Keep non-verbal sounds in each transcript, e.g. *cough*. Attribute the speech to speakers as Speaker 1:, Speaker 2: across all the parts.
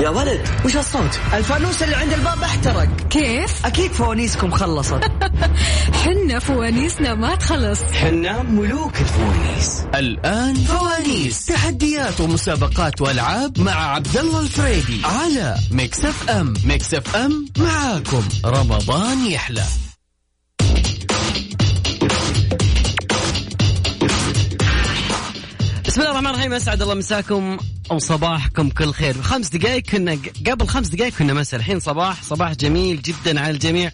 Speaker 1: يا ولد وش هالصوت؟
Speaker 2: الفانوس اللي عند الباب احترق
Speaker 3: كيف؟
Speaker 2: اكيد فوانيسكم
Speaker 1: *laughs*
Speaker 2: خلصت
Speaker 3: حنا فوانيسنا ما تخلص
Speaker 1: حنا ملوك الفوانيس
Speaker 4: الآن فوانيس تحديات ومسابقات وألعاب مع عبد الله الفريدي على ميكس اف ام ميكس اف ام معاكم رمضان يحلى
Speaker 5: بسم الله الرحمن الرحيم اسعد الله مساكم او صباحكم كل خير خمس دقائق كنا قبل خمس دقائق كنا مساء الحين صباح صباح جميل جدا على الجميع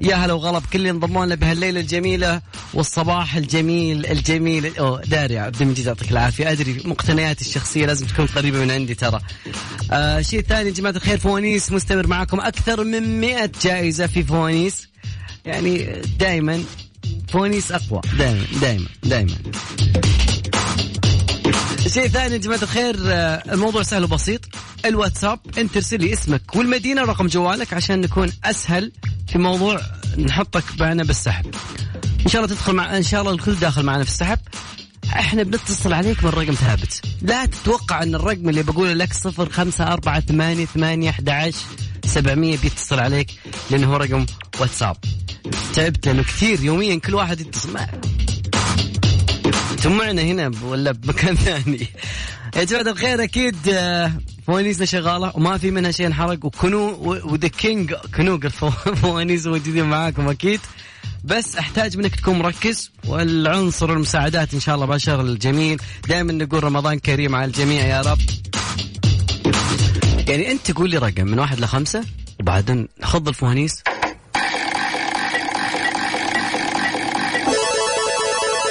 Speaker 5: يا هلا وغلب كل اللي انضموا لنا بهالليله الجميله والصباح الجميل الجميل أوه داري يا عبد المجيد يعطيك العافيه ادري مقتنياتي الشخصيه لازم تكون قريبه من عندي ترى آه شيء ثاني يا جماعه الخير فوانيس مستمر معكم اكثر من 100 جائزه في فوانيس يعني دائما فوانيس اقوى دائما دائما دائما شيء ثاني يا جماعه الخير آه، الموضوع سهل وبسيط الواتساب انت ترسل لي اسمك والمدينه رقم جوالك عشان نكون اسهل في موضوع نحطك معنا بالسحب ان شاء الله تدخل مع ان شاء الله الكل داخل معنا في السحب احنا بنتصل عليك من رقم ثابت لا تتوقع ان الرقم اللي بقوله لك 0548811700 بيتصل عليك لانه هو رقم واتساب تعبت لانه كثير يوميا كل واحد يتصل ما- انتم معنا هنا ب- ولا بمكان ثاني يا جماعة الخير أكيد آه، فوانيسنا شغالة وما في منها شيء انحرق وكنو وذا كينج كنوق الفو- *laughs* فوانيس موجودين معاكم أكيد بس احتاج منك تكون مركز والعنصر المساعدات ان شاء الله بشر الجميل دائما نقول رمضان كريم على الجميع يا رب يعني انت تقول لي رقم من واحد لخمسه وبعدين خض الفوانيس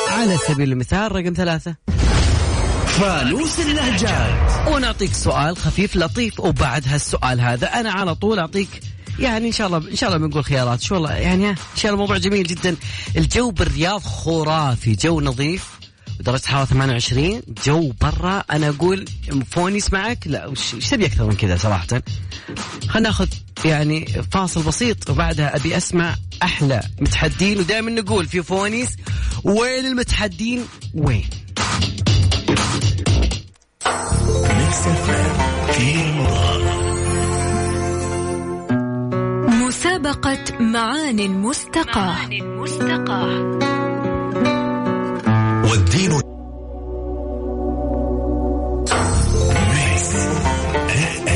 Speaker 5: على سبيل المثال رقم ثلاثه
Speaker 4: فانوس اللهجات
Speaker 5: ونعطيك سؤال خفيف لطيف وبعد هالسؤال هذا انا على طول اعطيك يعني ان شاء الله ان شاء الله بنقول خيارات شو والله يعني ان شاء الله الموضوع جميل جدا الجو بالرياض خرافي جو نظيف درجة حرارة 28 جو برا انا اقول فونيس معك لا وش وش تبي اكثر من كذا صراحة خلينا ناخذ يعني فاصل بسيط وبعدها ابي اسمع احلى متحدين ودائما نقول في فونيس وين المتحدين وين
Speaker 4: ميكس اف ام في رمضان
Speaker 3: مسابقة معان مستقاة
Speaker 4: والدين ميكس اف ام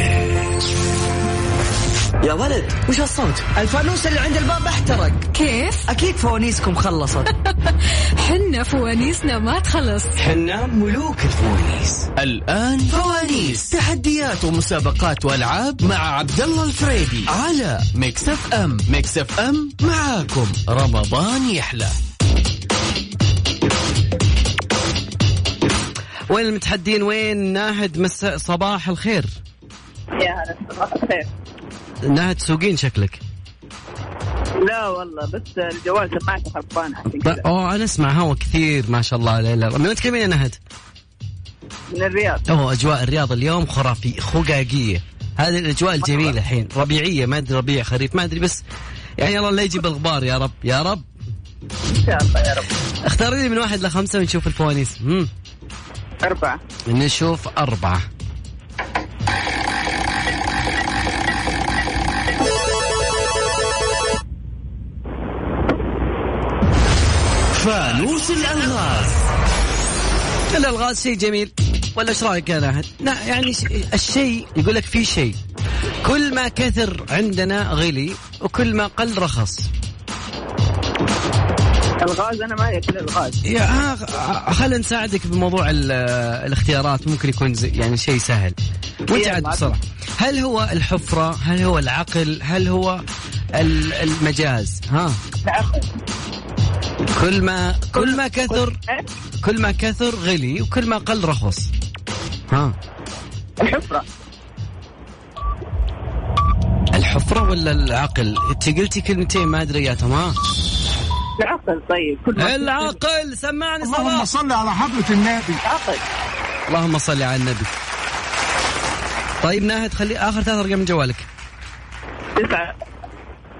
Speaker 1: يا ولد وش هالصوت؟
Speaker 2: الفانوس اللي عند الباب احترق
Speaker 3: كيف؟
Speaker 2: اكيد فوانيسكم خلصت
Speaker 3: *laughs* حنا فوانيسنا ما تخلص
Speaker 1: حنا ملوك الفوانيس
Speaker 4: الآن فوانيس تحديات ومسابقات وألعاب مع عبد الله الفريدي على ميكس اف ام ميكس اف ام معاكم رمضان يحلى
Speaker 5: وين المتحدين وين ناهد مساء صباح الخير
Speaker 6: يا هلا صباح الخير
Speaker 5: ناهد سوقين شكلك
Speaker 6: لا والله بس الجوال سماعته خربانه عشان
Speaker 5: ب...
Speaker 6: كذا
Speaker 5: اوه انا اسمع هوا كثير ما شاء الله لا لا من وين تكلمين يا ناهد؟
Speaker 6: من الرياض
Speaker 5: اوه اجواء الرياض اليوم خرافي خقاقيه هذه الاجواء الجميله الحين ربيعيه ما ادري ربيع خريف ما ادري بس يعني الله لا يجيب الغبار يا رب يا رب
Speaker 6: ان شاء الله يا رب
Speaker 5: اختاري لي من واحد لخمسه ونشوف الفوانيس مم.
Speaker 6: اربعه
Speaker 5: نشوف أربعة
Speaker 4: فانوس الألغاز
Speaker 5: الالغاز شيء جميل ولا ايش رايك يا ناهد؟ لا يعني ش- الشيء يقول لك في شيء كل ما كثر عندنا غلي وكل ما قل رخص
Speaker 6: الغاز انا ما ياكل الغاز
Speaker 5: يا آه خلينا نساعدك بموضوع ال- الاختيارات ممكن يكون زي يعني شيء سهل وانت
Speaker 6: يلا.
Speaker 5: عاد بسرعه هل هو الحفره هل هو العقل هل هو ال- المجاز ها
Speaker 6: العقل.
Speaker 5: كل ما كل ما كثر
Speaker 6: إيه؟
Speaker 5: كل ما كثر غلي وكل ما قل رخص ها
Speaker 6: الحفره
Speaker 5: الحفرة ولا العقل؟ انت قلتي كلمتين ما ادري يا تمام
Speaker 6: العقل طيب كل ما-
Speaker 5: العقل سمعني
Speaker 7: اللهم
Speaker 5: صلاة
Speaker 7: صل على حضرة النبي
Speaker 6: العقل
Speaker 5: اللهم صل على النبي طيب ناهد خلي اخر ثلاث ارقام من جوالك
Speaker 6: تسعه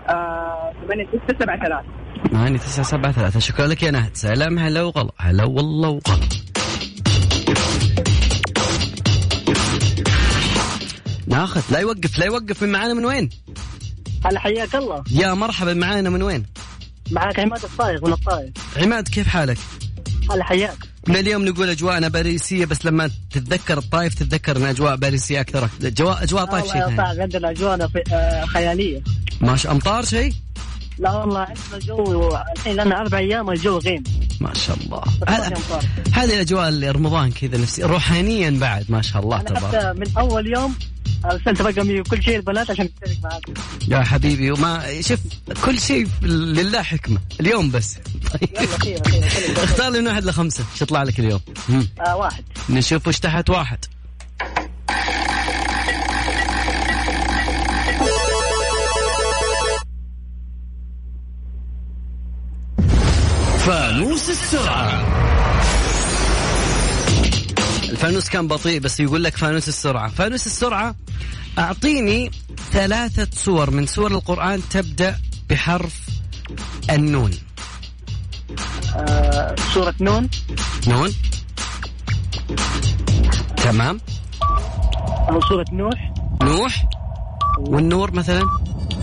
Speaker 6: آه، ثمانية ستة سبعة ثلاثة
Speaker 5: 8 9 7 3 شكرا لك يا ناهد سلام هلا وغلا هلا والله وغلا ناخذ لا يوقف لا يوقف من معانا من وين
Speaker 6: هلا حياك الله
Speaker 5: يا مرحبا معانا من وين
Speaker 6: معاك عماد الطايف من الطايف
Speaker 5: عماد كيف حالك
Speaker 6: هلا حياك
Speaker 5: من اليوم نقول اجواءنا باريسيه بس لما تتذكر الطايف تتذكر ان اجواء باريسيه اكثر جوا اجواء طايف شيء
Speaker 6: والله يا
Speaker 5: ثاني
Speaker 6: صاحبي آه، عندنا اجوانا في- آه، خياليه
Speaker 5: ما شاء امطار شيء
Speaker 6: لا والله عندنا جو الحين لنا اربع ايام الجو غيم
Speaker 5: ما شاء الله
Speaker 6: ما في
Speaker 5: هذا-
Speaker 6: أمطار.
Speaker 5: هذه الاجواء اللي رمضان كذا نفسي روحانيا بعد ما شاء الله
Speaker 6: انا
Speaker 5: تبارك
Speaker 6: حتى من اول يوم ارسلت رقمي وكل شيء البنات عشان اشترك معاك
Speaker 5: يا حبيبي وما شوف كل شيء لله حكمه اليوم بس طيب
Speaker 6: يلا خير خير خير.
Speaker 5: اختار لي من واحد لخمسه ايش يطلع لك اليوم مم.
Speaker 6: آه، واحد
Speaker 5: نشوف وش تحت واحد
Speaker 4: فانوس السرعة
Speaker 5: الفانوس كان بطيء بس يقول لك فانوس السرعة فانوس السرعة أعطيني ثلاثة سور من سور القرآن تبدأ بحرف النون
Speaker 6: آه، سورة نون
Speaker 5: نون تمام
Speaker 6: او سورة نوح
Speaker 5: نوح والنور مثلا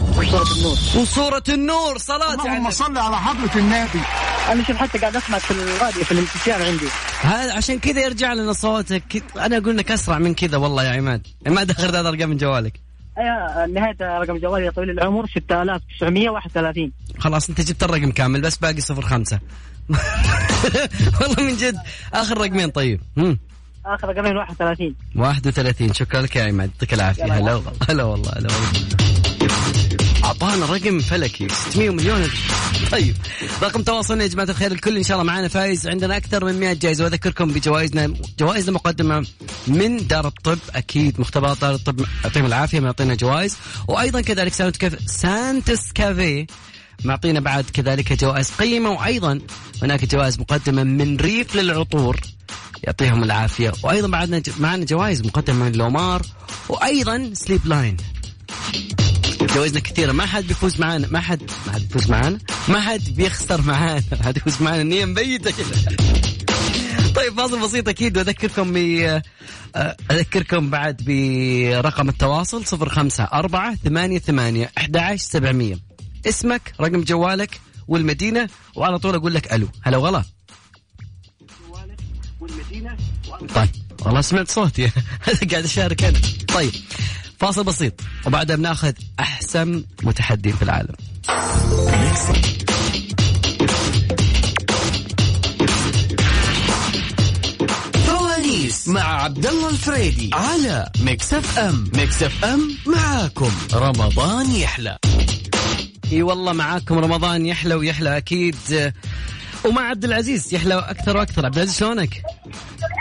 Speaker 6: وسورة النور
Speaker 5: وسورة النور صلاة يعني
Speaker 6: انا شوف حتى قاعد اسمع في الراديو في الامتحان عندي
Speaker 5: هذا عشان كذا يرجع لنا صوتك كت- أنا أقول لك أسرع من كذا والله يا عماد عماد أخر ثلاث أرقام من جوالك
Speaker 6: أيوة، نهاية رقم جوالي يا طويل العمر 6931
Speaker 5: خلاص أنت جبت الرقم كامل بس باقي صفر خمسة *laughs* والله من جد آخر رقمين طيب مم.
Speaker 6: اخر رقمين 31
Speaker 5: 31 شكرا لك يا عماد يعطيك العافيه هلا والله هلا والله هلا والله اعطانا رقم فلكي 600 مليون طيب رقم تواصلنا يا جماعه الخير الكل ان شاء الله معانا فايز عندنا اكثر من 100 جائزه واذكركم بجوائزنا جوائزنا مقدمه من دار الطب اكيد مختبرات دار الطب يعطيهم العافيه معطينا جوائز وايضا كذلك سانت كاف سانتس كافيه معطينا بعد كذلك جوائز قيمه وايضا هناك جوائز مقدمه من ريف للعطور يعطيهم العافيه وايضا بعدنا ج- معنا جوائز مقدمه من لومار وايضا سليب لاين جوائزنا كثيره ما حد بيفوز معانا ما حد ما حد بيفوز معانا ما حد بيخسر معانا ما حد يفوز معانا النيه مبيته كذا طيب فاصل بسيط اكيد واذكركم ب اذكركم بعد برقم التواصل 054 88 11700 اسمك رقم جوالك والمدينه وعلى طول اقول لك الو هلا وغلا طيب والله سمعت صوتي *laughs* هذا قاعد اشارك انا طيب فاصل بسيط وبعدها بناخذ احسن متحدين في العالم
Speaker 4: فوانيس مع عبد الله الفريدي على ميكس اف ام ميكس اف ام معاكم رمضان يحلى
Speaker 5: اي والله معاكم رمضان يحلى ويحلى اكيد ومع عبد العزيز يحلى اكثر واكثر عبد العزيز شلونك؟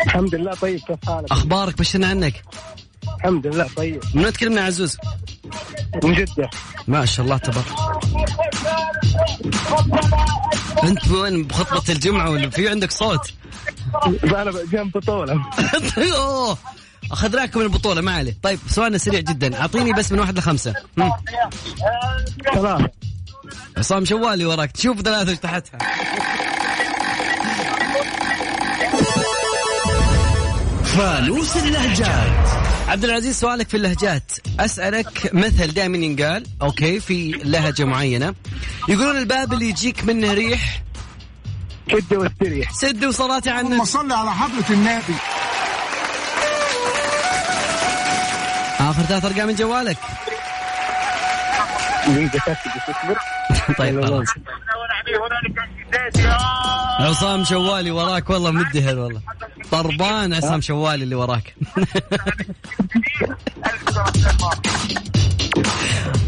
Speaker 6: الحمد لله طيب كيف حالك؟
Speaker 5: اخبارك بشرنا عنك
Speaker 6: الحمد لله طيب
Speaker 5: من وين تكلمنا يا عزوز؟
Speaker 6: من جدة
Speaker 5: ما شاء الله تبارك انت وين بخطبه الجمعه ولا في عندك صوت؟ *laughs*
Speaker 6: انا جنب بطولة
Speaker 5: أوه، اخذناكم من البطوله ما عليه طيب سؤالنا سريع جدا اعطيني بس من واحد لخمسه مم.
Speaker 6: ثلاثة
Speaker 5: عصام شوالي وراك تشوف ثلاثة ايش تحتها
Speaker 4: فانوس اللهجات
Speaker 5: عبد العزيز سؤالك في اللهجات اسالك مثل دائما ينقال اوكي في لهجة معينة يقولون الباب اللي يجيك منه ريح
Speaker 6: شدة واستريح
Speaker 5: سد وصلاتي عن النبي
Speaker 7: صلي على حضرة النبي
Speaker 5: اخر ثلاث ارقام من جوالك *laughs* طيب خلاص عصام شوالي وراك والله مدهن والله طربان عصام شوالي اللي وراك *laughs*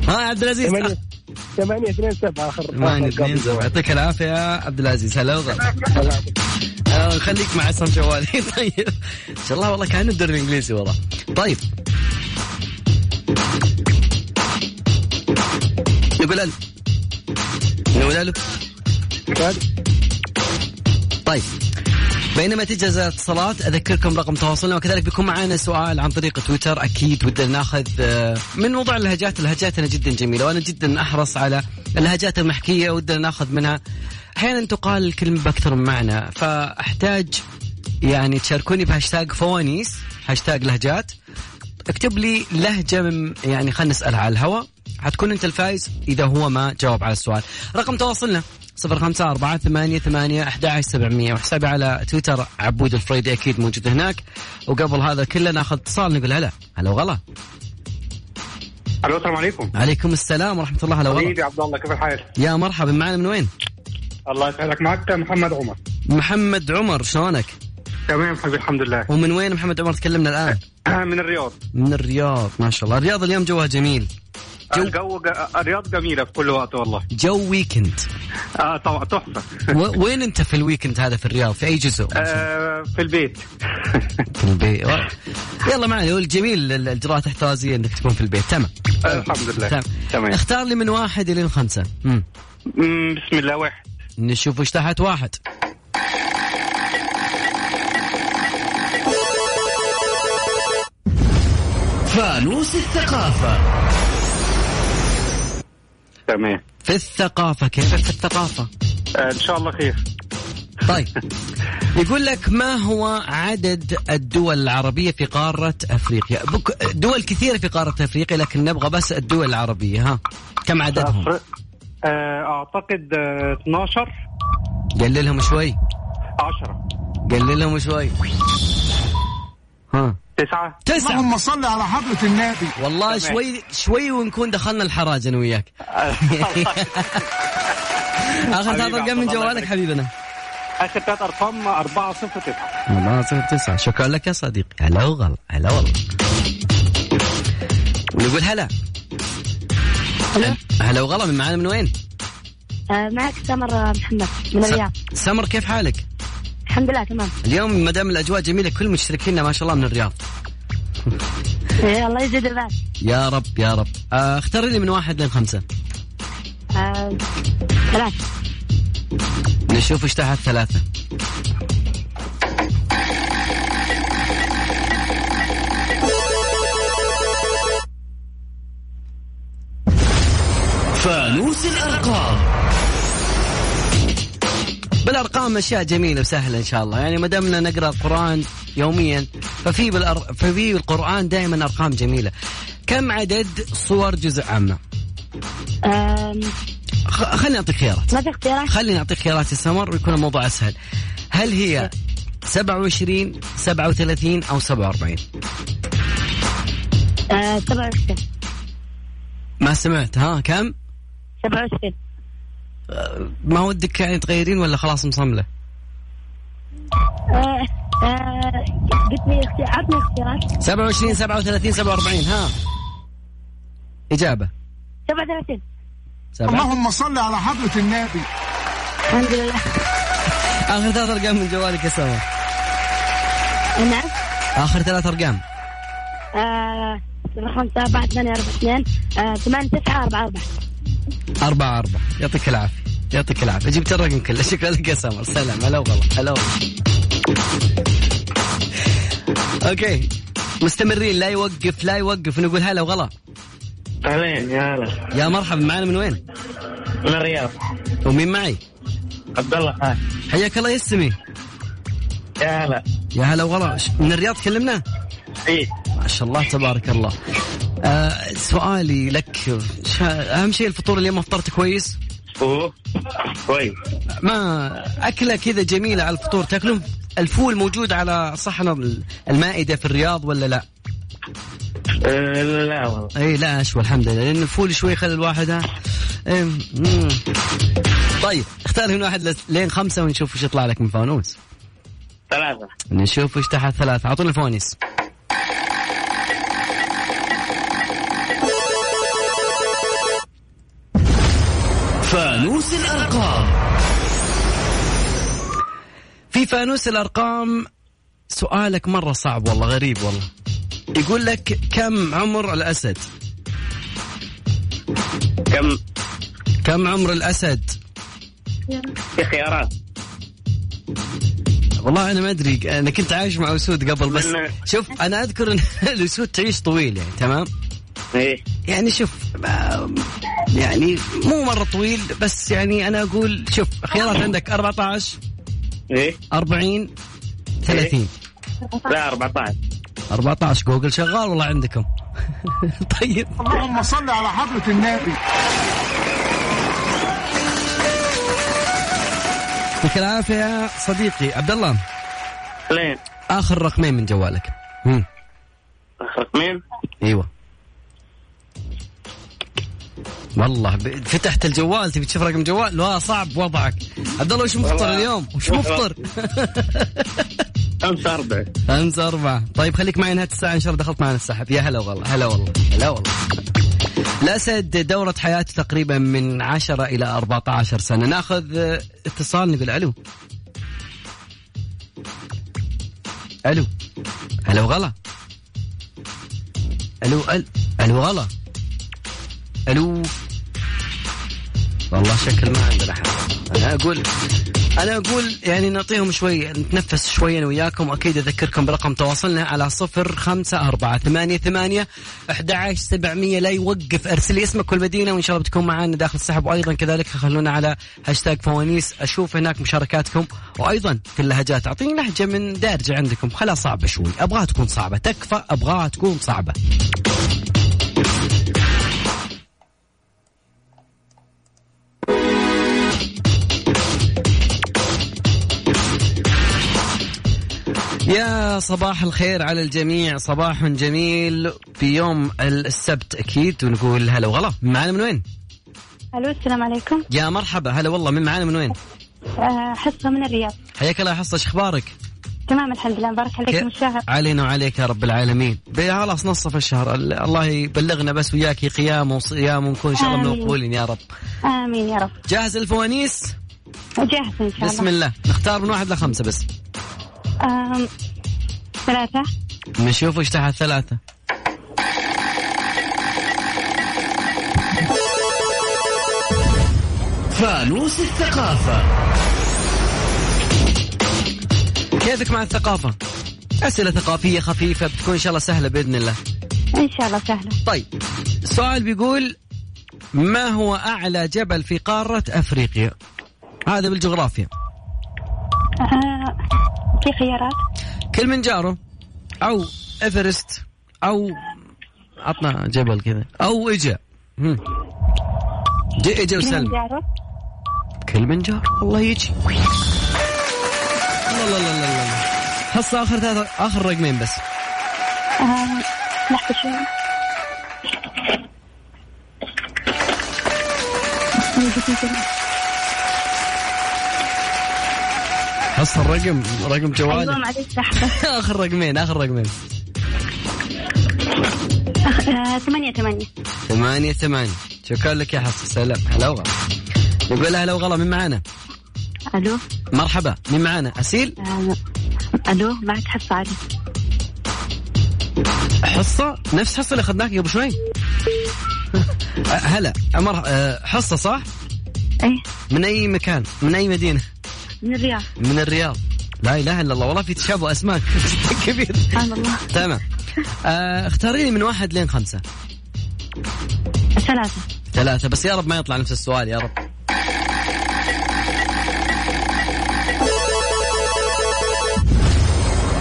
Speaker 5: ها يا عبد العزيز
Speaker 6: 8 2 7 اخر
Speaker 5: ثمانية اثنين سبعة يعطيك العافية يا عبد العزيز هلا وغلا آه، خليك مع عصام شوالي *laughs* طيب ان شاء الله والله كانه الدوري الانجليزي والله طيب نقول الو نقول الو طيب بينما تجهز الاتصالات اذكركم رقم تواصلنا وكذلك بيكون معنا سؤال عن طريق تويتر اكيد ودنا ناخذ آه، من موضوع اللهجات لهجاتنا جدا جميله وانا جدا احرص على اللهجات المحكيه ودنا ناخذ منها احيانا تقال الكلمه باكثر من معنى فاحتاج يعني تشاركوني بهاشتاج فوانيس هاشتاج لهجات اكتب لي لهجه من يعني خلينا نسالها على الهواء حتكون انت الفائز اذا هو ما جاوب على السؤال رقم تواصلنا 05 4 8 8 11 700 وحسابي على تويتر عبود الفريدي اكيد موجود هناك وقبل هذا كله ناخذ اتصال نقول هلا هلا وغلا
Speaker 7: الو السلام عليكم
Speaker 5: عليكم السلام ورحمه الله هلا وغلا
Speaker 7: حبيبي عبد الله كيف الحال؟
Speaker 5: يا مرحبا معنا من وين؟
Speaker 7: الله يسعدك معك محمد عمر
Speaker 5: محمد عمر شلونك؟
Speaker 7: تمام حبيبي الحمد لله *clears throat*
Speaker 5: ومن وين محمد عمر تكلمنا الان؟
Speaker 7: من الرياض
Speaker 5: من الرياض ما شاء الله الرياض اليوم جوها جميل جو-
Speaker 7: الجو ج- آه، الرياض جميله في كل وقت والله
Speaker 5: جو ويكند
Speaker 7: آه طبعا تحفه
Speaker 5: *laughs* و- وين انت في الويكند هذا في الرياض في اي جزء
Speaker 7: آه في البيت *laughs*
Speaker 5: في البيت و- يلا معي هو الجميل ال- الاجراءات الاحترازيه انك تكون في البيت تمام
Speaker 7: آه، الحمد لله
Speaker 5: تمام
Speaker 7: طيب، تمام
Speaker 5: اختار لي من واحد الى خمسه مم.
Speaker 7: مم، بسم الله واحد
Speaker 5: نشوف وش تحت واحد
Speaker 4: فانوس الثقافة
Speaker 7: تمام
Speaker 5: في الثقافه كيف في الثقافه
Speaker 7: آه ان شاء الله خير
Speaker 5: طيب يقول لك ما هو عدد الدول العربية في قارة أفريقيا بك- دول كثيرة في قارة أفريقيا لكن نبغى بس الدول العربية ها كم عددهم
Speaker 7: أفر- آه اعتقد آه 12
Speaker 5: قللهم شوي
Speaker 7: 10
Speaker 5: قللهم شوي ها
Speaker 7: 9
Speaker 5: تسعة
Speaker 8: صل على حضرة النبي
Speaker 5: والله
Speaker 7: تمام.
Speaker 5: شوي شوي ونكون دخلنا الحراج انا
Speaker 7: *laughs*
Speaker 5: وياك *laughs* اخر ثلاث ارقام من
Speaker 7: حبيبي عبد الله
Speaker 5: جوالك
Speaker 7: يبارك.
Speaker 5: حبيبنا
Speaker 7: اخر ثلاث ارقام 4 0 9
Speaker 5: والله صفر تسعة شكرا لك يا صديقي هلا وغلا هلا والله ونقول هلا هلا هلا وغلا من معانا من وين؟
Speaker 9: آه، معك سمر آه، محمد من الرياض
Speaker 5: سمر كيف حالك؟
Speaker 9: الحمد لله تمام
Speaker 5: اليوم ما دام الاجواء جميله كل مشتركينا ما شاء الله من الرياض
Speaker 9: إيه، الله يزيد البال
Speaker 5: يا رب يا رب آه، اختار لي من واحد لين خمسه
Speaker 9: آه، ثلاثة
Speaker 5: نشوف ايش تحت ثلاثه
Speaker 4: فانوس الأرقام
Speaker 5: بالارقام اشياء جميله وسهله ان شاء الله يعني ما دامنا نقرا القران يوميا ففي بالأر... ففي القران دائما ارقام جميله كم عدد صور جزء عامه
Speaker 9: آه،
Speaker 5: خ... خليني اعطيك خيارات
Speaker 9: ما في اختيارات
Speaker 5: خليني اعطيك خيارات يا سمر ويكون الموضوع اسهل هل هي 27 37 او 47
Speaker 9: آه، 67
Speaker 5: ما سمعت ها كم
Speaker 9: 67
Speaker 5: ما ودك يعني تغيرين ولا خلاص مصمله
Speaker 9: آه، آه، قلت لي اختي- عطني اختيارات
Speaker 5: 27 37 47 ها اجابه
Speaker 9: 37
Speaker 5: سبعة.
Speaker 8: صل على حضرة النبي
Speaker 9: الحمد لله
Speaker 5: اخر ثلاث ارقام من جوالك يا سمر
Speaker 9: نعم
Speaker 5: اخر ثلاث ارقام
Speaker 9: آه، خمسة أربعة ثمانية أربعة اثنين آه، ثمانية تسعة أربعة أربعة
Speaker 5: أربعة أربعة يعطيك العافية يعطيك العافية جبت الرقم كله *laughs* شكرا لك يا سمر سلام هلا والله هلا والله. أوكي مستمرين لا يوقف لا يوقف نقول هلا وغلا
Speaker 7: اهلين يا هلا
Speaker 5: يا مرحبا معنا من وين
Speaker 7: من الرياض
Speaker 5: ومين معي
Speaker 7: عبد الله هاي
Speaker 5: حياك الله يا السمي
Speaker 7: يا هلا
Speaker 5: يا هلا وغلا ش- من الرياض كلمنا
Speaker 7: ايه
Speaker 5: ما شاء الله تبارك الله آه سؤالي لك شا- أهم شيء الفطور اليوم فطرت كويس
Speaker 7: اوه كويس
Speaker 5: ما أكلة كذا جميلة على الفطور تاكلون الفول موجود على صحن المائدة في الرياض ولا لا؟
Speaker 7: آه، لا والله
Speaker 5: اي إيه، لا اشوى الحمد لله لان الفول شوي خلى الواحد ها إيه، مم. طيب اختار من واحد لس- لين خمسة ونشوف وش يطلع لك من فانوس
Speaker 7: ثلاثة
Speaker 5: نشوف وش تحت ثلاثة اعطونا الفوانيس
Speaker 4: فانوس الأرقام
Speaker 5: في فانوس الارقام سؤالك مرة صعب والله غريب والله يقول لك كم عمر الاسد
Speaker 7: كم
Speaker 5: كم عمر الاسد
Speaker 7: في خيارات
Speaker 5: والله انا ما ادري انا كنت عايش مع اسود قبل بس
Speaker 7: من-
Speaker 5: شوف انا اذكر *laughs* ان الاسود تعيش طويل يعني تمام
Speaker 7: ايه
Speaker 5: يعني شوف ما- يعني مو مره طويل بس يعني انا اقول شوف خيارات عندك 14
Speaker 7: ايه
Speaker 5: 40 30
Speaker 7: لا 14
Speaker 5: 14 جوجل شغال والله عندكم *laughs* طيب
Speaker 8: اللهم صل على حضرة النبي
Speaker 5: يعطيك العافيه يا صديقي عبد الله
Speaker 7: لين
Speaker 5: اخر رقمين من جوالك مم.
Speaker 7: مين؟
Speaker 5: ايوه والله ب- فتحت الجوال تبي تشوف رقم جوال لا صعب وضعك عبد الله وش مفطر
Speaker 7: والله.
Speaker 5: اليوم وش مفطر
Speaker 7: خمسة أربعة
Speaker 5: خمسة أربعة طيب خليك معي نهاية الساعة إن شاء الله دخلت معنا السحب يا هلا والله هلا والله هلا والله الأسد دورة حياته تقريبا من 10 إلى 14 سنة ناخذ آه، اتصال نقول ألو ألو ألو غلا ألو أل ألو غلا ألو والله شكل ما عندنا حد أنا أقول أنا أقول يعني نعطيهم شوي نتنفس شوي أنا وياكم وأكيد أذكركم برقم تواصلنا على صفر خمسة أربعة ثمانية ثمانية أحد عشر سبعمية لا يوقف أرسل لي اسمك والمدينة وإن شاء الله بتكون معنا داخل السحب وأيضا كذلك خلونا على هاشتاج فوانيس أشوف هناك مشاركاتكم وأيضا في اللهجات أعطيني لهجة من دارجة عندكم خلا صعبة شوي أبغاها تكون صعبة تكفى أبغاها تكون صعبة يا صباح الخير على الجميع صباح جميل في يوم السبت اكيد ونقول هلا وغلا من معانا من وين؟
Speaker 9: الو السلام عليكم
Speaker 5: يا مرحبا هلا والله من معانا من وين؟
Speaker 9: آه، حصه من الرياض
Speaker 5: حياك الله يا حصه اخبارك؟
Speaker 9: تمام الحمد لله مبارك عليكم الشهر
Speaker 5: علينا وعليك يا رب العالمين بي- خلاص نصف الشهر ال- الله يبلغنا بس وياك قيام وصيام ونكون ان شاء الله
Speaker 9: آمين.
Speaker 5: مقبولين يا رب
Speaker 9: امين يا رب
Speaker 5: جاهز الفوانيس
Speaker 9: جاهز ان شاء الله
Speaker 5: بسم الله نختار من واحد لخمسه بس
Speaker 9: آم، ثلاثه
Speaker 5: نشوف ايش تحت ثلاثه
Speaker 4: فانوس الثقافة
Speaker 5: كيفك مع الثقافه؟ اسئله ثقافيه خفيفه بتكون ان شاء الله سهله باذن الله
Speaker 9: ان شاء الله سهله
Speaker 5: طيب السؤال بيقول ما هو أعلى جبل في قارة أفريقيا؟ هذا بالجغرافيا
Speaker 9: آه، في خيارات
Speaker 5: كلمنجارو أو إيفرست أو عطنا جبل كذا أو إجا هم. جي إجا وسلم
Speaker 9: كلمنجارو
Speaker 5: كلمنجارو الله يجي الله الله الله الله الله. حصة آخر ثلاثة آخر رقمين بس
Speaker 9: آه، لحظه شوي
Speaker 5: حصة الرقم رقم
Speaker 9: ايوه
Speaker 5: جوالي
Speaker 9: معلش لحظه
Speaker 5: *laughs* آخر رقمين آخر رقمين
Speaker 9: آه، ثمانية ثمانية
Speaker 5: ثمانية ثمانية شكرا لك يا حصة سلام هلا وغلا نقول هلا وغلا من معانا
Speaker 9: الو
Speaker 5: مرحبا مين معانا أسيل
Speaker 9: آه، الو معك حصة علي
Speaker 5: حصة نفس حصة اللي أخذناك قبل شوي أه، هلا أمر أه، حصة صح
Speaker 9: ايه
Speaker 5: من أي مكان من أي مدينة
Speaker 9: من الرياض
Speaker 5: من الرياض لا إله إلا الله والله في تشابه أسماك *laughs* كبير
Speaker 9: سبحان الله
Speaker 5: تمام آه، اختاري لي من واحد لين خمسة
Speaker 9: ثلاثة
Speaker 5: ثلاثة بس يا رب ما يطلع نفس السؤال يا رب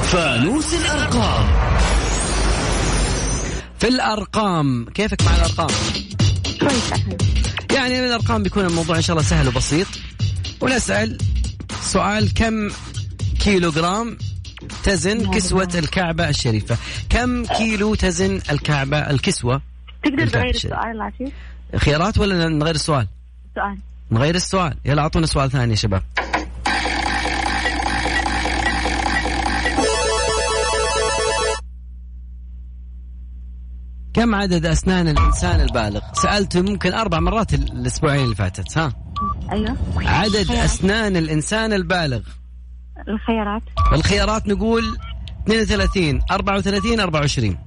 Speaker 4: فانوس الأرقام
Speaker 5: في الأرقام كيفك مع الأرقام
Speaker 9: كويس أحمد.
Speaker 5: يعني من الارقام بيكون الموضوع ان شاء الله سهل وبسيط ونسال سؤال كم كيلو جرام
Speaker 9: نعم.
Speaker 5: تزن كسوة الكعبة الشريفة كم كيلو تزن الكعبة الكسوة
Speaker 9: تقدر
Speaker 5: بالفعل
Speaker 9: تغير
Speaker 5: شيء.
Speaker 9: السؤال العفيف
Speaker 5: خيارات ولا نغير السؤال
Speaker 9: سؤال
Speaker 5: نغير السؤال يلا اعطونا سؤال ثاني يا شباب كم عدد أسنان الإنسان البالغ؟ سألته يمكن أربع مرات ال- الأسبوعين اللي فاتت ها؟
Speaker 9: ايوه
Speaker 5: عدد
Speaker 9: خيارات.
Speaker 5: أسنان الإنسان البالغ
Speaker 9: الخيارات
Speaker 5: الخيارات نقول 32 34 24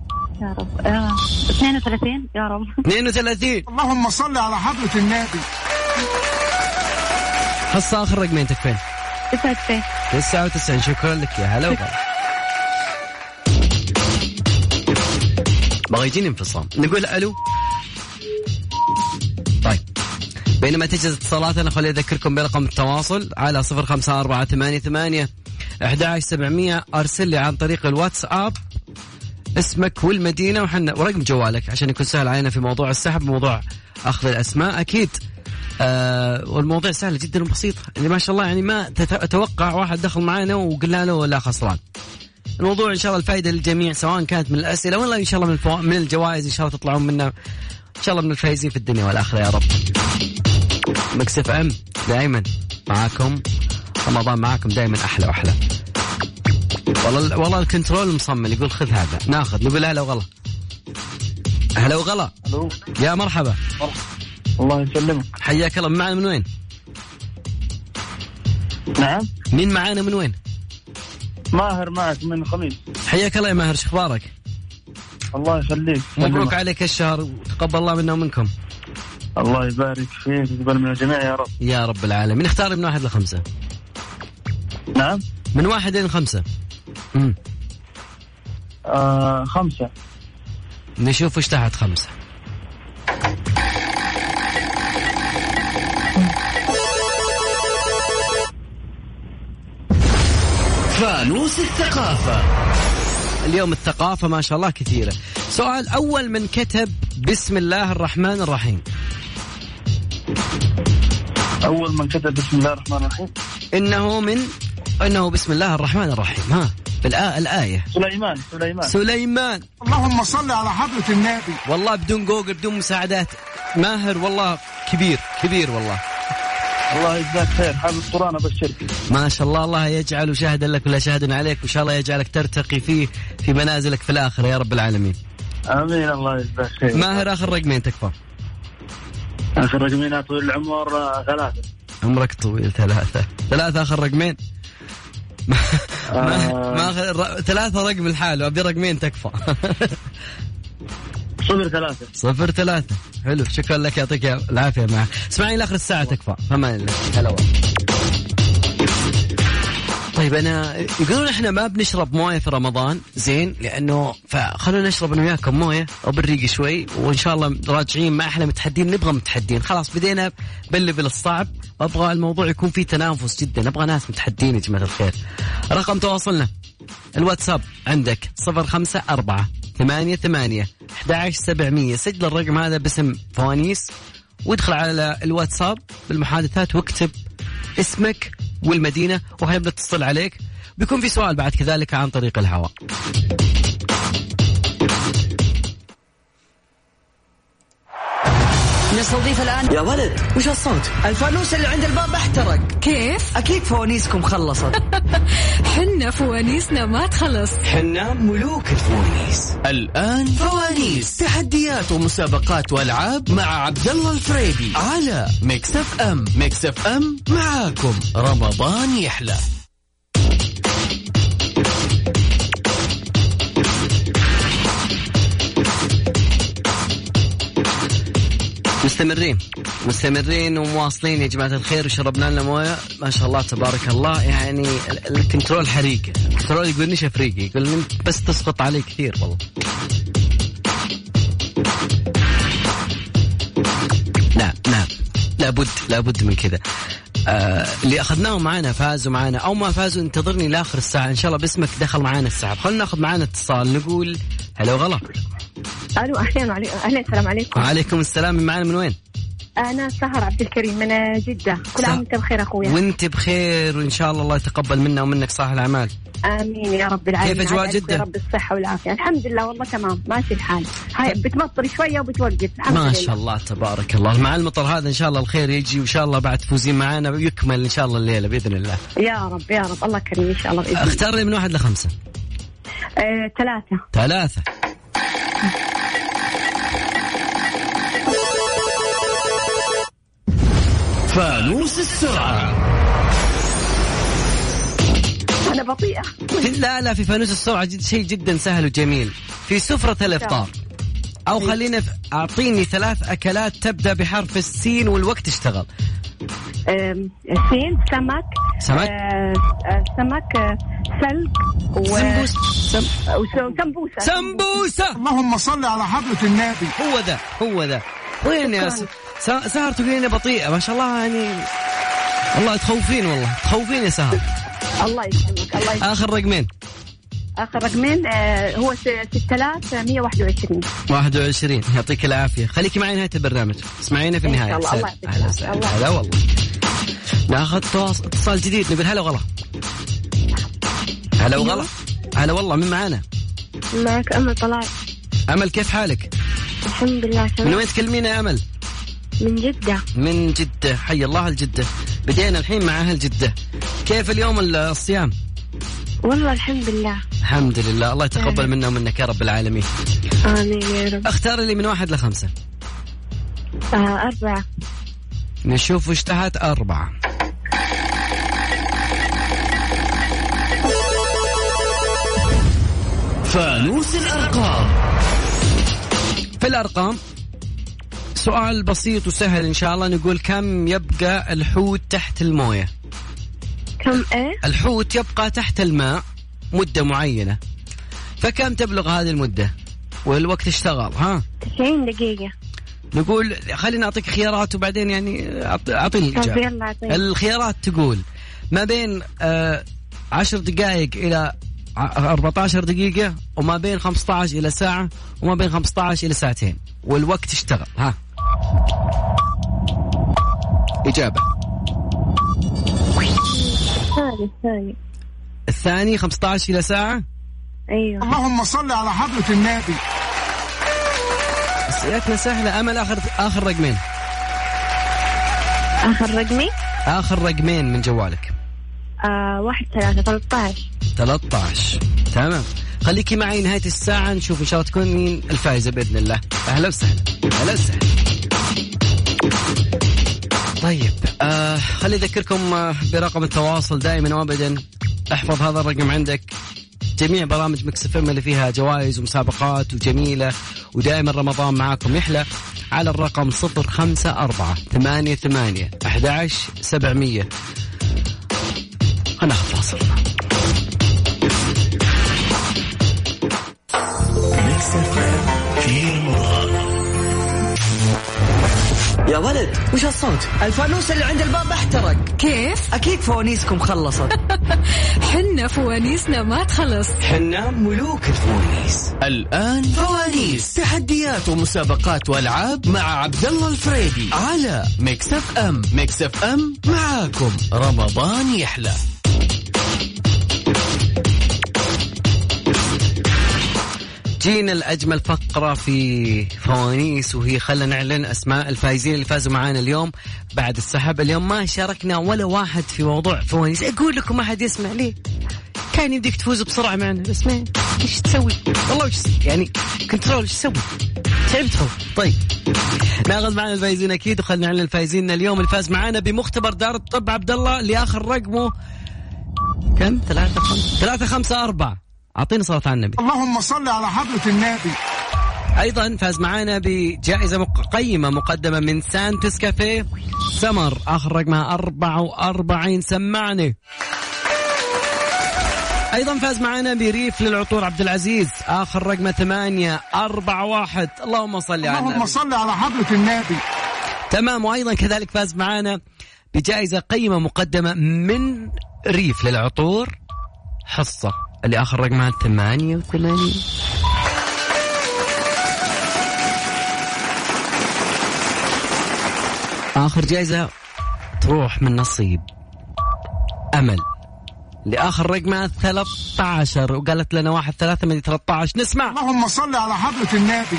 Speaker 9: يا رب آه، 32 يا رب
Speaker 5: 32
Speaker 8: اللهم صل على حضرة النبي
Speaker 5: حصة آخر رقمين تكفين
Speaker 9: 99
Speaker 5: 99 شكرا لك يا هلا وغلا بغى يجيني انفصام نقول الو طيب بينما تجهز اتصالاتنا خليني اذكركم برقم التواصل على 05488 11700 ارسل لي عن طريق الواتساب اسمك والمدينه وحنا ورقم جوالك عشان يكون سهل علينا في موضوع السحب وموضوع اخذ الاسماء اكيد آه والمواضيع سهله جدا وبسيطه اللي ما شاء الله يعني ما تت- اتوقع واحد دخل معانا وقلنا له لا خسران الموضوع ان شاء الله الفائده للجميع سواء كانت من الاسئله ولا ان شاء الله من, الفو... من الجوائز ان شاء الله تطلعون منا ان شاء الله من الفايزين في الدنيا والاخره يا رب مكسف ام دائما معاكم رمضان معاكم دائما احلى واحلى والله والله الكنترول مصمم يقول خذ هذا ناخذ نقول هلا وغلا هلا وغلا
Speaker 7: الو
Speaker 5: يا مرحبا
Speaker 7: الله يسلمك
Speaker 5: حياك الله من معنا من وين؟
Speaker 7: نعم
Speaker 5: مين معانا من وين؟
Speaker 7: ماهر معك من خميس
Speaker 5: حياك الله يا ماهر شو اخبارك؟
Speaker 7: الله يخليك
Speaker 5: مبروك
Speaker 7: يسلمك.
Speaker 5: عليك الشهر وتقبل الله منا ومنكم
Speaker 7: الله يبارك فيك ويقبل من الجميع يا رب
Speaker 5: يا رب العالمين اختار من واحد لخمسه
Speaker 7: نعم
Speaker 5: من واحد لين خمسه امم
Speaker 7: آه خمسة
Speaker 5: نشوف وش تحت خمسة
Speaker 4: فانوس الثقافة
Speaker 5: اليوم الثقافة ما شاء الله كثيرة سؤال أول من كتب بسم الله الرحمن الرحيم
Speaker 7: أول من كتب بسم الله الرحمن الرحيم
Speaker 5: إنه من إنه بسم الله الرحمن الرحيم ها بالآ... الآية
Speaker 7: سليمان سليمان
Speaker 5: سليمان
Speaker 8: اللهم صل على حضرة النبي
Speaker 5: والله بدون جوجل بدون مساعدات ماهر والله كبير كبير والله
Speaker 7: الله يجزاك خير حافظ قرآن أبشرك
Speaker 5: ما شاء الله الله يجعله شاهدا لك ولا شاهدا عليك وإن شاء الله يجعلك ترتقي فيه في منازلك في الآخرة يا رب العالمين
Speaker 7: آمين الله يجزاك خير
Speaker 5: ماهر آخر رقمين تكفى
Speaker 7: آخر رقمين يا طويل العمر آه، ثلاثة
Speaker 5: عمرك طويل ثلاثة ثلاثة آخر رقمين *laughs* ما
Speaker 7: آه.
Speaker 5: ما آخر ر- ثلاثة رقم الحال وأبي رقمين تكفى *laughs*
Speaker 7: صفر ثلاثة
Speaker 5: صفر ثلاثة حلو شكرا لك يعطيك العافية معك اسمعيني لآخر الساعة تكفى فما إلا. هلا والله. طيب انا يقولون احنا ما بنشرب مويه في رمضان زين لانه فخلونا نشرب انا وياكم مويه وبالريق شوي وان شاء الله راجعين مع احلى متحدين نبغى متحدين خلاص بدينا بالليفل الصعب ابغى الموضوع يكون فيه تنافس جدا ابغى ناس متحدين يا جماعه الخير رقم تواصلنا الواتساب عندك 054 ثمانية ثمانية 11 700 سجل الرقم هذا باسم فوانيس وادخل على الواتساب بالمحادثات واكتب اسمك والمدينة وهي بنتصل عليك بيكون في سؤال بعد كذلك عن طريق الهواء
Speaker 2: نستضيف الآن
Speaker 1: يا ولد وش الصوت
Speaker 2: الفانوس اللي عند الباب احترق
Speaker 3: كيف
Speaker 2: أكيد فوانيسكم خلصت
Speaker 3: *laughs* حنا فوانيسنا ما تخلص
Speaker 1: حنا ملوك الفوانيس
Speaker 4: الآن فوانيس تحديات ومسابقات وألعاب مع عبد الله الفريدي على مكسف أم مكسف أم معاكم رمضان يحلى
Speaker 5: مستمرين مستمرين ومواصلين يا جماعة الخير وشربنا لنا موية ما شاء الله تبارك الله يعني ال- الكنترول حريق الكنترول يقول نيش افريقي يقول إنت بس تسقط عليه كثير والله نعم نعم لابد لابد من كذا آه اللي اخذناه معانا فازوا معانا او ما فازوا انتظرني لاخر الساعه ان شاء الله باسمك دخل معانا السحب خلينا ناخذ معانا اتصال نقول هلا وغلا
Speaker 9: الو اهلين وعلي... اهلين السلام عليكم
Speaker 5: وعليكم السلام من معانا من وين؟
Speaker 9: انا سهر عبد الكريم من جده كل
Speaker 5: سهر.
Speaker 9: عام وانت بخير اخويا
Speaker 5: وانت بخير وان شاء الله الله يتقبل منا ومنك صالح الاعمال
Speaker 9: امين يا رب العالمين
Speaker 5: كيف أجواء
Speaker 9: على ألف
Speaker 5: جدة؟
Speaker 9: يا رب الصحه والعافيه الحمد لله والله تمام ماشي الحال هاي بتمطر شويه وبتوقف الحمد
Speaker 5: طيب. ما
Speaker 9: لله
Speaker 5: شاء الله تبارك الله مع المطر هذا ان شاء الله الخير يجي وان شاء الله بعد تفوزين معنا ويكمل ان شاء الله الليله باذن الله
Speaker 9: يا رب يا رب الله كريم ان شاء الله باذن الله
Speaker 5: اختار لي من واحد لخمسه
Speaker 9: آه، ثلاثه
Speaker 5: ثلاثه
Speaker 4: فانوس السرعة
Speaker 9: انا بطيئه
Speaker 5: في- لا لا في فانوس السرعه جد شيء جدا سهل وجميل في سفره الافطار او
Speaker 9: نعم.
Speaker 5: خلينا في اعطيني ثلاث اكلات تبدا بحرف السين والوقت اشتغل
Speaker 9: آم، سين سمك
Speaker 5: سمك؟
Speaker 9: آه، آه، سمك آه، سلق و... آه،
Speaker 5: سمبوس سم...
Speaker 9: وس- سمبوسه
Speaker 5: سمبوسه
Speaker 8: اللهم صل على حضرة النبي
Speaker 5: هو ذا هو ذا وين يا س...
Speaker 9: شكراً.
Speaker 5: س- سهر تقولين بطيئة ما شاء الله يعني والله تخوفين والله تخوفين يا سهر
Speaker 9: الله يسلمك الله يسلمك
Speaker 5: آخر رقمين
Speaker 9: اخر رقمين آه، هو س- 6121
Speaker 5: 21 يعطيك العافيه خليكي معي نهايه البرنامج اسمعينا في
Speaker 9: إن شاء
Speaker 5: النهايه
Speaker 9: الله، الله يعطيك
Speaker 5: هلا
Speaker 9: العافية.
Speaker 5: وسهلا.
Speaker 9: الله.
Speaker 5: هلا والله ناخذ تواصل- اتصال جديد نقول هلا وغلا هلا وغلا هلا والله من معانا
Speaker 9: معك امل طلال
Speaker 5: امل كيف حالك
Speaker 9: الحمد لله
Speaker 5: من
Speaker 9: تمام
Speaker 5: وين تكلمينا يا امل
Speaker 9: من جده
Speaker 5: من جده حي الله اهل جده بدينا الحين مع اهل جده كيف اليوم ال- الصيام
Speaker 9: والله الحمد لله
Speaker 5: الحمد لله الله يتقبل منا ومنك يا رب العالمين
Speaker 9: امين يا رب
Speaker 5: اختار لي من واحد لخمسه
Speaker 9: آه، اربعه
Speaker 5: نشوف وش تحت أربعة
Speaker 4: فانوس الأرقام
Speaker 5: في الأرقام سؤال بسيط وسهل إن شاء الله نقول كم يبقى الحوت تحت الموية
Speaker 9: كم ايه
Speaker 5: الحوت يبقى تحت الماء مدة معينة فكم تبلغ هذه المدة والوقت اشتغل ها
Speaker 9: 90 دقيقه
Speaker 5: نقول خلينا أعطيك خيارات وبعدين يعني أعط- أعطيني
Speaker 9: طب
Speaker 5: الإجابة
Speaker 9: طيب، يلا اعطيني
Speaker 5: الخيارات تقول ما بين آه، عشر دقائق إلى ع- 14 دقيقة وما بين 15 إلى ساعة وما بين 15 إلى ساعتين والوقت اشتغل ها إجابة
Speaker 9: الثاني الثاني
Speaker 5: الثاني 15 إلى ساعة
Speaker 9: ايوه
Speaker 8: اللهم صل على حضرة النبي
Speaker 5: أسئلتنا سهلة أمل آخر آخر رقمين
Speaker 9: اخر رقمي
Speaker 5: آخر رقمين من جوالك
Speaker 9: آه واحد ثلاثة 13
Speaker 5: 13 تمام خليكي معي نهاية الساعة نشوف إن شاء الله تكون مين الفائزة بإذن الله أهلا وسهلا أهلا وسهلا طيب آه خلي أذكركم آه، برقم التواصل دائما وأبدا احفظ هذا الرقم عندك جميع برامج مكس اف ام اللي فيها جوائز ومسابقات وجميله ودائما رمضان معاكم يحلى على الرقم 054 88 11700 انا فاصل
Speaker 1: يا ولد
Speaker 2: وش الصوت الفانوس اللي عند الباب احترق
Speaker 3: كيف
Speaker 2: اكيد فوانيسكم خلصت
Speaker 3: *laughs* حنا فوانيسنا ما تخلص
Speaker 1: حنا ملوك الفوانيس
Speaker 4: الآن فوانيس تحديات ومسابقات وألعاب مع عبد الله الفريدي على ميكس اف ام ميكس اف ام معاكم رمضان يحلى
Speaker 5: جينا لأجمل فقرة في فوانيس وهي خلنا نعلن أسماء الفايزين اللي فازوا معانا اليوم بعد السحب اليوم ما شاركنا ولا واحد في موضوع فوانيس أقول لكم ما حد يسمع ليه كان يديك تفوز بسرعة معنا بس ما إيش تسوي والله وش يعني كنترول إيش تسوي تعبت هو. طيب ناخذ معنا الفايزين أكيد وخلنا نعلن الفايزين اليوم اللي فاز معانا بمختبر دار الطب عبد الله اللي آخر رقمه كم ثلاثة خمسة ثلاثة خمسة أربعة أعطيني صلاة على النبي
Speaker 8: اللهم صل على حضرة النبي
Speaker 5: ايضا فاز معانا بجائزه مق- قيمه مقدمه من سانتس كافيه سمر اخر رقمها 44 سمعني ايضا فاز معانا بريف للعطور عبد العزيز اخر رقمه 8 4 1 اللهم صل على
Speaker 8: اللهم
Speaker 5: النبي
Speaker 8: صل على حضرة النبي
Speaker 5: تمام وايضا كذلك فاز معانا بجائزه قيمه مقدمه من ريف للعطور حصه اللي اخر رقمها 88 اخر جائزه تروح من نصيب امل لاخر رقمها 13 وقالت لنا واحد ثلاثة من 13 نسمع
Speaker 8: اللهم صل على حضرة النبي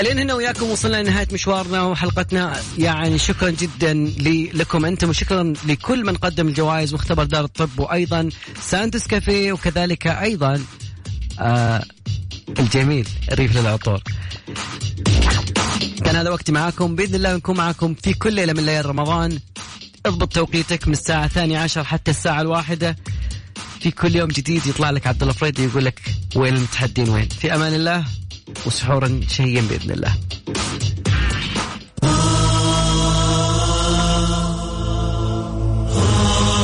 Speaker 5: الين هنا وياكم وصلنا لنهايه مشوارنا وحلقتنا يعني شكرا جدا لي- لكم انتم وشكرا لكل من قدم الجوائز واختبر دار الطب وايضا سانتس كافيه وكذلك ايضا آه الجميل ريف للعطور كان هذا وقتي معاكم باذن الله نكون معاكم في كل ليله من ليالي رمضان اضبط توقيتك من الساعه 12 عشر حتى الساعه الواحدة في كل يوم جديد يطلع لك عبد الله فريدي يقول لك وين المتحدين وين في امان الله وسحورا شهيا باذن الله